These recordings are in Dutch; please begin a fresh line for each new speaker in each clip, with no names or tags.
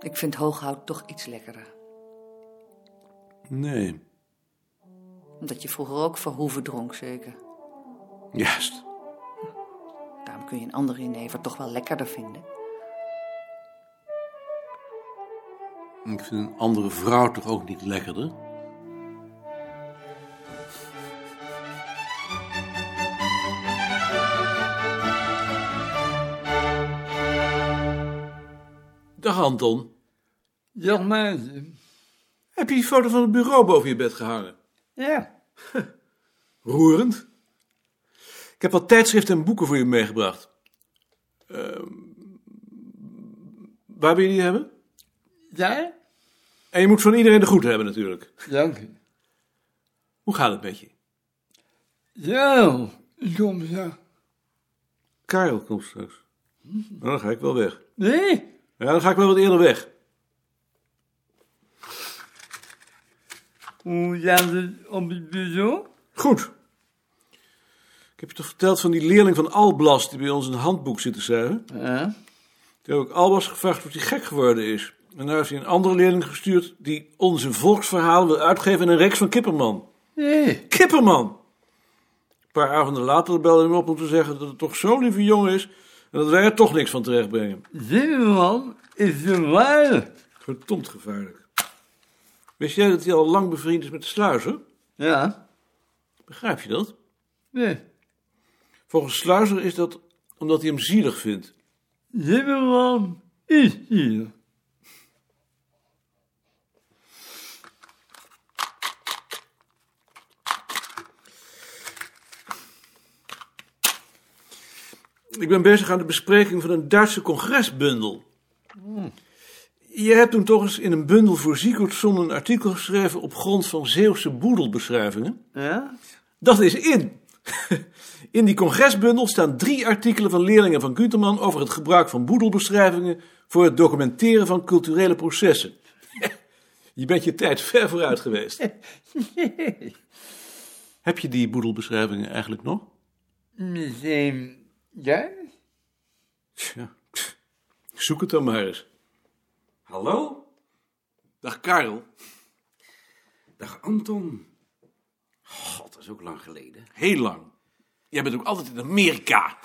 Ik vind hooghout toch iets lekkerder.
Nee,
Omdat je vroeger ook verhoeven dronk, zeker.
juist.
Daarom kun je een andere jenever toch wel lekkerder vinden.
Ik vind een andere vrouw toch ook niet lekkerder? Dag Anton.
Dag Maarten.
Heb je die foto van het bureau boven je bed gehangen?
Ja,
Roerend. Ik heb wat tijdschriften en boeken voor je meegebracht. Ehm, waar wil je die hebben?
daar?
En je moet van iedereen de groeten hebben natuurlijk.
Dank je.
Hoe gaat het met je?
Zo, soms ja.
Karel komt straks. Nou, dan ga ik wel weg.
Nee,
Ja, dan ga ik wel wat eerder weg.
hoe gaat het op het bureau?
Goed. Ik heb je toch verteld van die leerling van Alblas die bij ons een handboek zit te schrijven?
Ja.
Toen heb ik Alblas gevraagd of hij gek geworden is. En daar heeft hij een andere leerling gestuurd die ons een volksverhaal wil uitgeven in een reeks van Kipperman.
Nee,
Kipperman! Een paar avonden later belde hij me op om te zeggen dat het toch zo'n lieve jongen is en dat wij er toch niks van terechtbrengen.
Zimmerman is de ware.
Verdomd gevaarlijk. Wist jij dat hij al lang bevriend is met de sluizer?
Ja,
Begrijp je dat?
nee.
Volgens Sluizer is dat omdat hij hem zielig vindt.
Zimmerman is hier.
Ik ben bezig aan de bespreking van een Duitse congresbundel. Je hebt toen toch eens in een bundel voor Ziekertson een artikel geschreven op grond van Zeeuwse boedelbeschrijvingen.
Ja?
Dat is in. In die congresbundel staan drie artikelen van leerlingen van Guterman over het gebruik van boedelbeschrijvingen voor het documenteren van culturele processen. Je bent je tijd ver vooruit geweest. Heb je die boedelbeschrijvingen eigenlijk nog?
Misschien jij?
Tja, pff, zoek het dan maar eens.
Hallo?
Dag Karel,
Dag Anton. God, dat is ook lang geleden.
heel lang. Jij bent ook altijd in Amerika.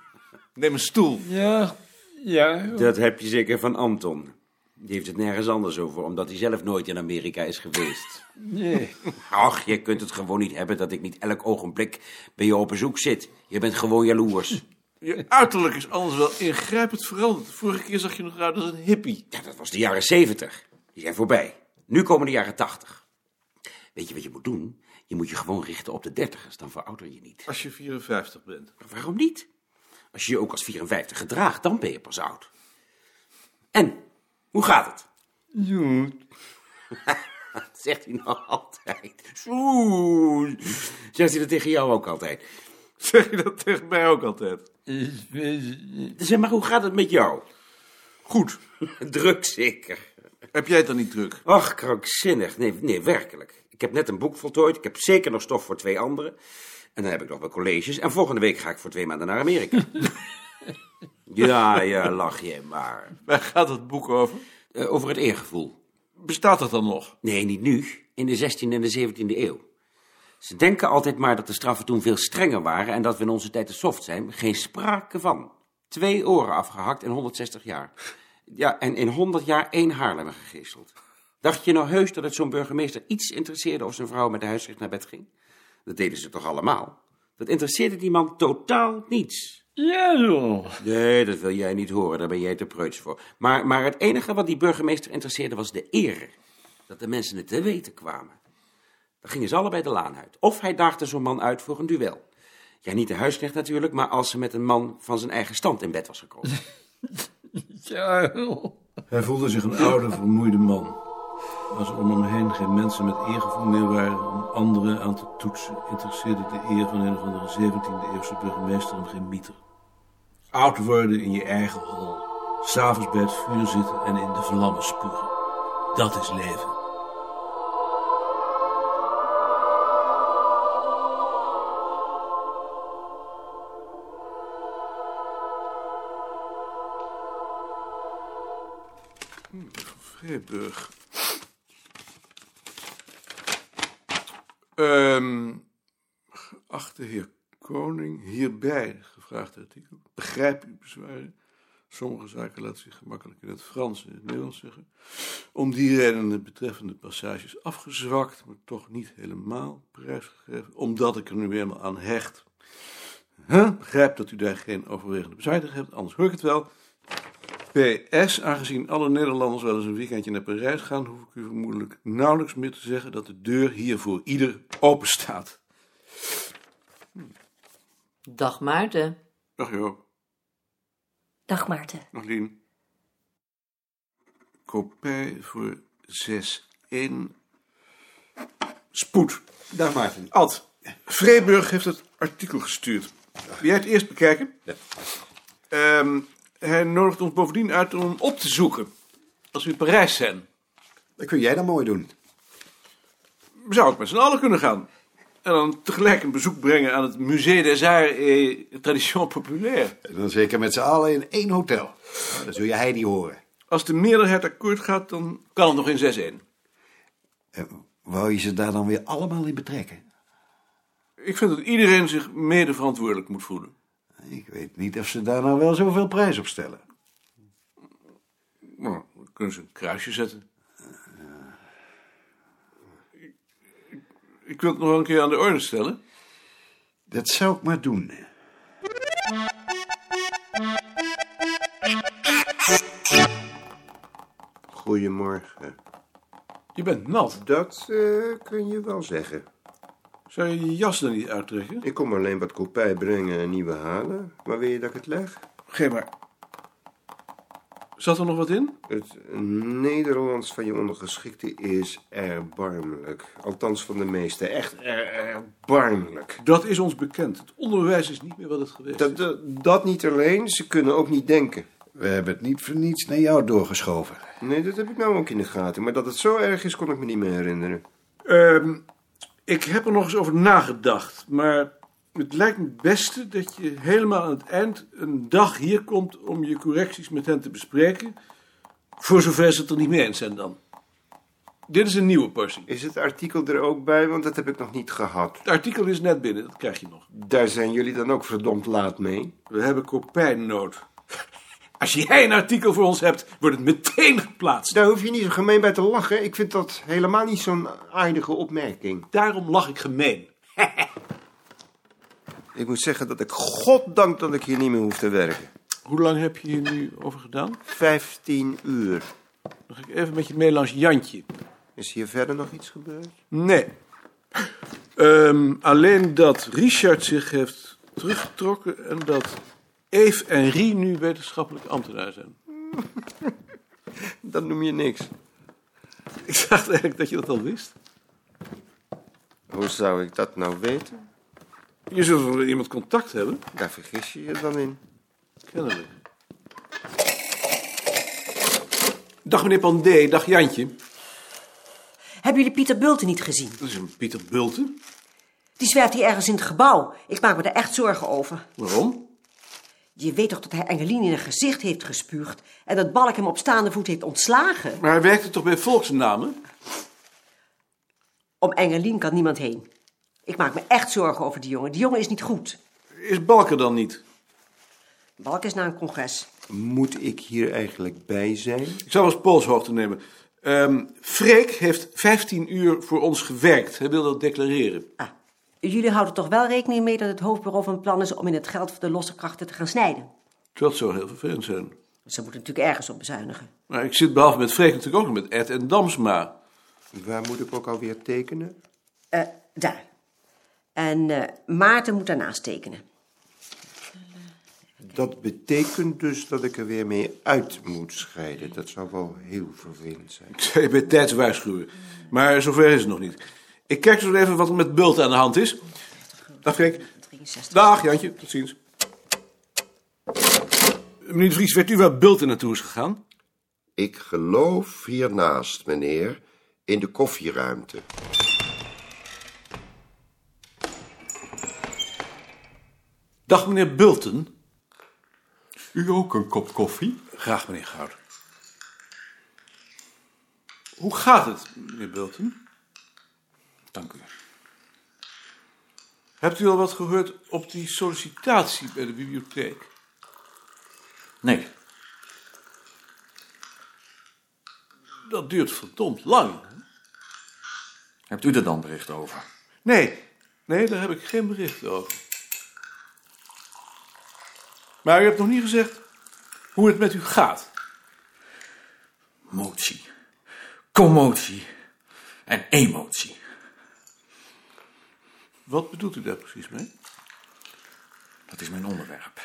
Neem een stoel.
Ja, ja.
Dat heb je zeker van Anton. Die heeft het nergens anders over, omdat hij zelf nooit in Amerika is geweest.
Nee,
Ach, je kunt het gewoon niet hebben dat ik niet elk ogenblik bij je op bezoek zit. Je bent gewoon jaloers.
Je uiterlijk is anders wel ingrijpend veranderd. Vorige keer zag je nog uit als een hippie.
Ja, dat was de jaren zeventig. Die zijn voorbij. Nu komen de jaren tachtig. Weet je wat je moet doen? Je moet je gewoon richten op de dertigers, dan verouder je niet.
Als je 54 bent.
Maar waarom niet? Als je je ook als 54 gedraagt, dan ben je pas oud. En, hoe gaat het?
goed.
Dat zegt hij nog altijd. Zoen. Zegt hij dat tegen jou ook altijd.
Zeg je dat tegen mij ook altijd?
Ik weet het niet.
Zeg maar, hoe gaat het met jou?
Goed.
Druk zeker.
Heb jij het dan niet druk?
Ach, krankzinnig. Nee, nee, werkelijk. Ik heb net een boek voltooid. Ik heb zeker nog stof voor twee anderen. En dan heb ik nog wel colleges. En volgende week ga ik voor twee maanden naar Amerika. ja, ja, lach je maar.
Waar gaat dat boek over?
Eh, over het eergevoel.
Bestaat dat dan nog?
Nee, niet nu. In de 16e en de 17e eeuw. Ze denken altijd maar dat de straffen toen veel strenger waren en dat we in onze tijd te soft zijn. Geen sprake van. Twee oren afgehakt in 160 jaar. Ja, en in 100 jaar één Haarlemmer gegezeld. Dacht je nou heus dat het zo'n burgemeester iets interesseerde of zijn vrouw met de huisrecht naar bed ging? Dat deden ze toch allemaal? Dat interesseerde die man totaal niets.
Ja, joh.
Nee, dat wil jij niet horen, daar ben jij te preuts voor. Maar, maar het enige wat die burgemeester interesseerde was de eer. Dat de mensen het te weten kwamen. Dan gingen ze allebei de laan uit. Of hij daagde zo'n man uit voor een duel. Ja, niet de huisknecht natuurlijk, maar als ze met een man van zijn eigen stand in bed was gekomen.
Ja, joh.
Hij voelde zich een oude, vermoeide man. Als er om hem heen geen mensen met eergevoel meer waren om anderen aan te toetsen, interesseerde de eer van een of andere 17e-eeuwse burgemeester hem geen mieter. Oud worden in je eigen hol. S'avonds bij het vuur zitten en in de vlammen spugen. Dat is leven. Vreeburg. Ehm, geachte heer Koning, hierbij, gevraagd artikel, begrijp uw bezwaren. Sommige zaken laten zich gemakkelijk in het Frans en in het Nederlands zeggen. Om die reden de betreffende passage is afgezwakt, maar toch niet helemaal prijsgegeven, omdat ik er nu eenmaal aan hecht. Huh? Begrijp dat u daar geen overwegende bezwaar tegen hebt, anders hoor ik het wel. PS, aangezien alle Nederlanders wel eens een weekendje naar Parijs gaan, hoef ik u vermoedelijk nauwelijks meer te zeggen dat de deur hier voor ieder open staat.
Dag Maarten.
Dag Joop,
Dag Maarten.
nog Lien. Kopij voor 6-1. Spoed.
Dag Maarten.
Ad, Vreeburg heeft het artikel gestuurd. Wil jij het eerst bekijken? Ehm, hij nodigt ons bovendien uit om hem op te zoeken. Als we in Parijs zijn.
Dat kun jij dan mooi doen.
zou ik met z'n allen kunnen gaan. En dan tegelijk een bezoek brengen aan het Musée des Arts et Tradition Populaire.
En dan zeker met z'n allen in één hotel. Nou, Dan zul je hij niet horen.
Als de meerderheid akkoord gaat, dan kan het nog in 6-1.
En wou je ze daar dan weer allemaal in betrekken?
Ik vind dat iedereen zich mede verantwoordelijk moet voelen.
Ik weet niet of ze daar nou wel zoveel prijs op stellen.
Nou, dan kunnen ze een kruisje zetten. Ik- ik- Ik wil het nog wel een keer aan de orde stellen.
Dat zou ik maar doen.
Goedemorgen.
Je bent nat.
Dat eh, kun je wel zeggen.
Zou je je jas dan niet uittrekken?
Ik kom alleen wat kopij brengen en nieuwe halen. Maar wil je dat ik het leg?
Geef maar. Zat er nog wat in?
Het Nederlands van je ondergeschikte is erbarmelijk. Althans van de meeste. Echt er- erbarmelijk.
Dat is ons bekend. Het onderwijs is niet meer wat het geweest
Dat, dat, dat niet alleen, ze kunnen ook niet denken.
We hebben het niet voor niets naar jou doorgeschoven.
Nee, dat heb ik nou ook in de gaten. Maar dat het zo erg is, kon ik me niet meer herinneren.
Ehm, ik heb er nog eens over nagedacht, maar het lijkt me het beste dat je helemaal aan het eind een dag hier komt om je correcties met hen te bespreken. Voor zover ze het er niet mee eens zijn dan. Dit is een nieuwe portie.
Is het artikel er ook bij? Want dat heb ik nog niet gehad.
Het artikel is net binnen, dat krijg je nog.
Daar zijn jullie dan ook verdomd laat mee.
We hebben kopijnnood. Als jij een artikel voor ons hebt, wordt het meteen geplaatst.
Daar hoef je niet zo gemeen bij te lachen. Ik vind dat helemaal niet zo'n aardige opmerking.
Daarom lach ik gemeen.
Ik moet zeggen dat ik goddank dat ik hier niet meer hoef te werken.
Hoe lang heb je hier nu over gedaan?
15 uur.
Dan ga ik even met je mee langs Jantje.
Is hier verder nog iets gebeurd?
Nee. Ehm, alleen dat Richard zich heeft teruggetrokken en dat Eve en Rie nu wetenschappelijk ambtenaar zijn.
Dat noem je niks.
Ik dacht eigenlijk dat je dat al wist.
Hoe zou ik dat nou weten?
Je zult wel met iemand contact hebben,
Daar vergis je je dan in.
kennelijk. Dag meneer Pandé, dag Jantje.
Hebben jullie Pieter Bulten niet gezien?
Dat is een Pieter Bulten.
Die zwerft hier ergens in het gebouw. Ik maak me daar echt zorgen over.
Waarom?
Je weet toch dat hij Engeline in haar gezicht heeft gespuugd... en dat Balk hem op staande voet heeft ontslagen?
Maar hij werkte toch bij Volksnamen?
Om Engeline kan niemand heen. Ik maak me echt zorgen over die jongen. Die jongen is niet goed.
Is Balken dan niet?
Balk is naar een congres.
Moet ik hier eigenlijk bij zijn?
Ik zal eens polshoogte nemen. Ehm Freek heeft 15 uur voor ons gewerkt. Hij wil dat declareren.
Ah, jullie houden toch wel rekening mee dat het hoofdbureau van plan is... om in het geld van de losse krachten te gaan snijden?
Dat zou heel vervelend zijn.
Ze moeten natuurlijk ergens op bezuinigen.
Maar ik zit behalve met Freek natuurlijk ook nog met Ed en Damsma.
Waar moet ik ook alweer tekenen?
Eh, daar. En eh, Maarten moet daarnaast tekenen.
Dat betekent dus dat ik er weer mee uit moet scheiden. Dat zou wel heel vervelend zijn.
Ik zou je bij tijd waarschuwen. Maar zover is het nog niet. Ik kijk zo even wat er met Bult aan de hand is. Dag Freek.
63.
Dag Jantje. Tot ziens. Meneer de Vries, weet u waar Bulten naartoe is gegaan?
Ik geloof hiernaast, meneer, in de koffieruimte.
Dag, meneer Bulten.
U ook een kop koffie?
Graag, meneer Goud. Hoe gaat het, meneer Bulten?
Dank u.
Hebt u al wat gehoord op die sollicitatie bij de bibliotheek?
Nee,
Dat duurt verdomd lang.
hebt u er dan bericht over?
Nee, nee, daar heb ik geen bericht over. Maar u hebt nog niet gezegd hoe het met u gaat.
Motie, commotie en emotie.
Wat bedoelt u daar precies mee?
Dat is mijn onderwerp.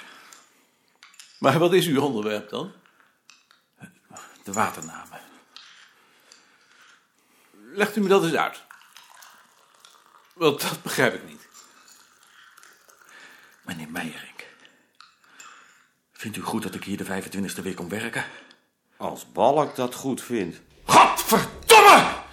Maar wat is uw onderwerp dan?
De waternamen.
Legt u me dat eens uit. Want dat begrijp ik niet.
Meneer Meijerink. Vindt u goed dat ik hier de 25e week kom werken?
Als Balk dat goed vindt.
Godverdomme!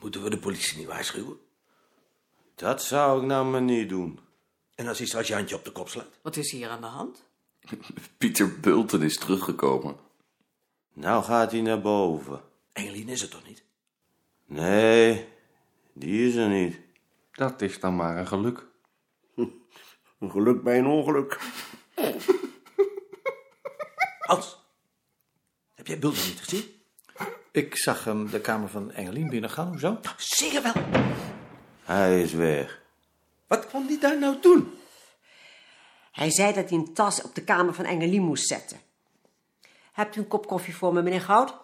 Moeten we de politie niet waarschuwen?
Dat zou ik nou maar niet doen.
En als iets als je handje op de kop slaat?
Wat is hier aan de hand?
Pieter Bulten is teruggekomen.
Nou gaat hij naar boven.
Engelien is het toch niet?
Nee, die is er niet.
Dat is dan maar een geluk.
Een geluk bij een ongeluk. Hans, heb jij Bulder niet gezien?
Ik zag hem de kamer van Engelien binnengaan, hoezo?
Zie je wel.
Hij is weg.
Wat kwam die daar nou doen?
Hij zei dat hij een tas op de kamer van Engelien moest zetten. Hebt u een kop koffie voor me, meneer Goud?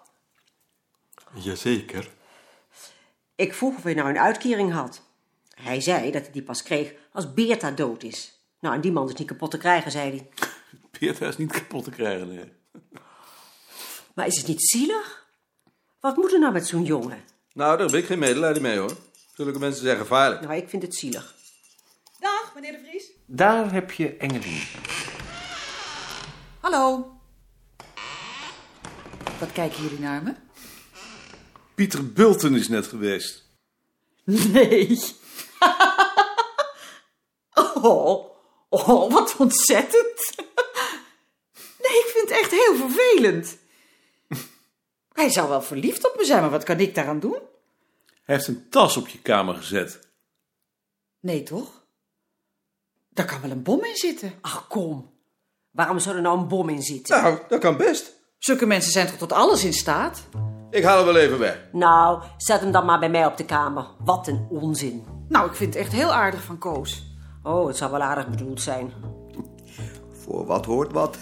Jazeker.
Ik vroeg of hij nou een uitkering had. Hij zei dat hij die pas kreeg als Beerta dood is. Nou, en die man is niet kapot te krijgen, zei hij.
Peerta is niet kapot te krijgen, nee.
Maar is het niet zielig? Wat moet er nou met zo'n jongen?
Nou, daar heb ik geen medelijden mee hoor. Zulke mensen zijn gevaarlijk.
Nou, ik vind het zielig.
Dag, meneer de Vries.
Daar heb je Engelien.
Hallo. Wat kijken jullie naar me?
Pieter Bulten is net geweest.
Nee. oh, oh, wat ontzettend. Nee, ik vind het echt heel vervelend. Hij zou wel verliefd op me zijn, maar wat kan ik daaraan doen?
Hij heeft een tas op je kamer gezet.
Nee, toch? Daar kan wel een bom in zitten.
Ach, kom. Waarom zou er nou een bom in zitten?
Nou, dat kan best.
Zulke mensen zijn toch tot alles in staat?
Ik haal hem wel even weg.
Nou, zet hem dan maar bij mij op de kamer. Wat een onzin.
Nou, ik vind het echt heel aardig van Koos.
Oh, het zou wel aardig bedoeld zijn.
Voor wat hoort wat?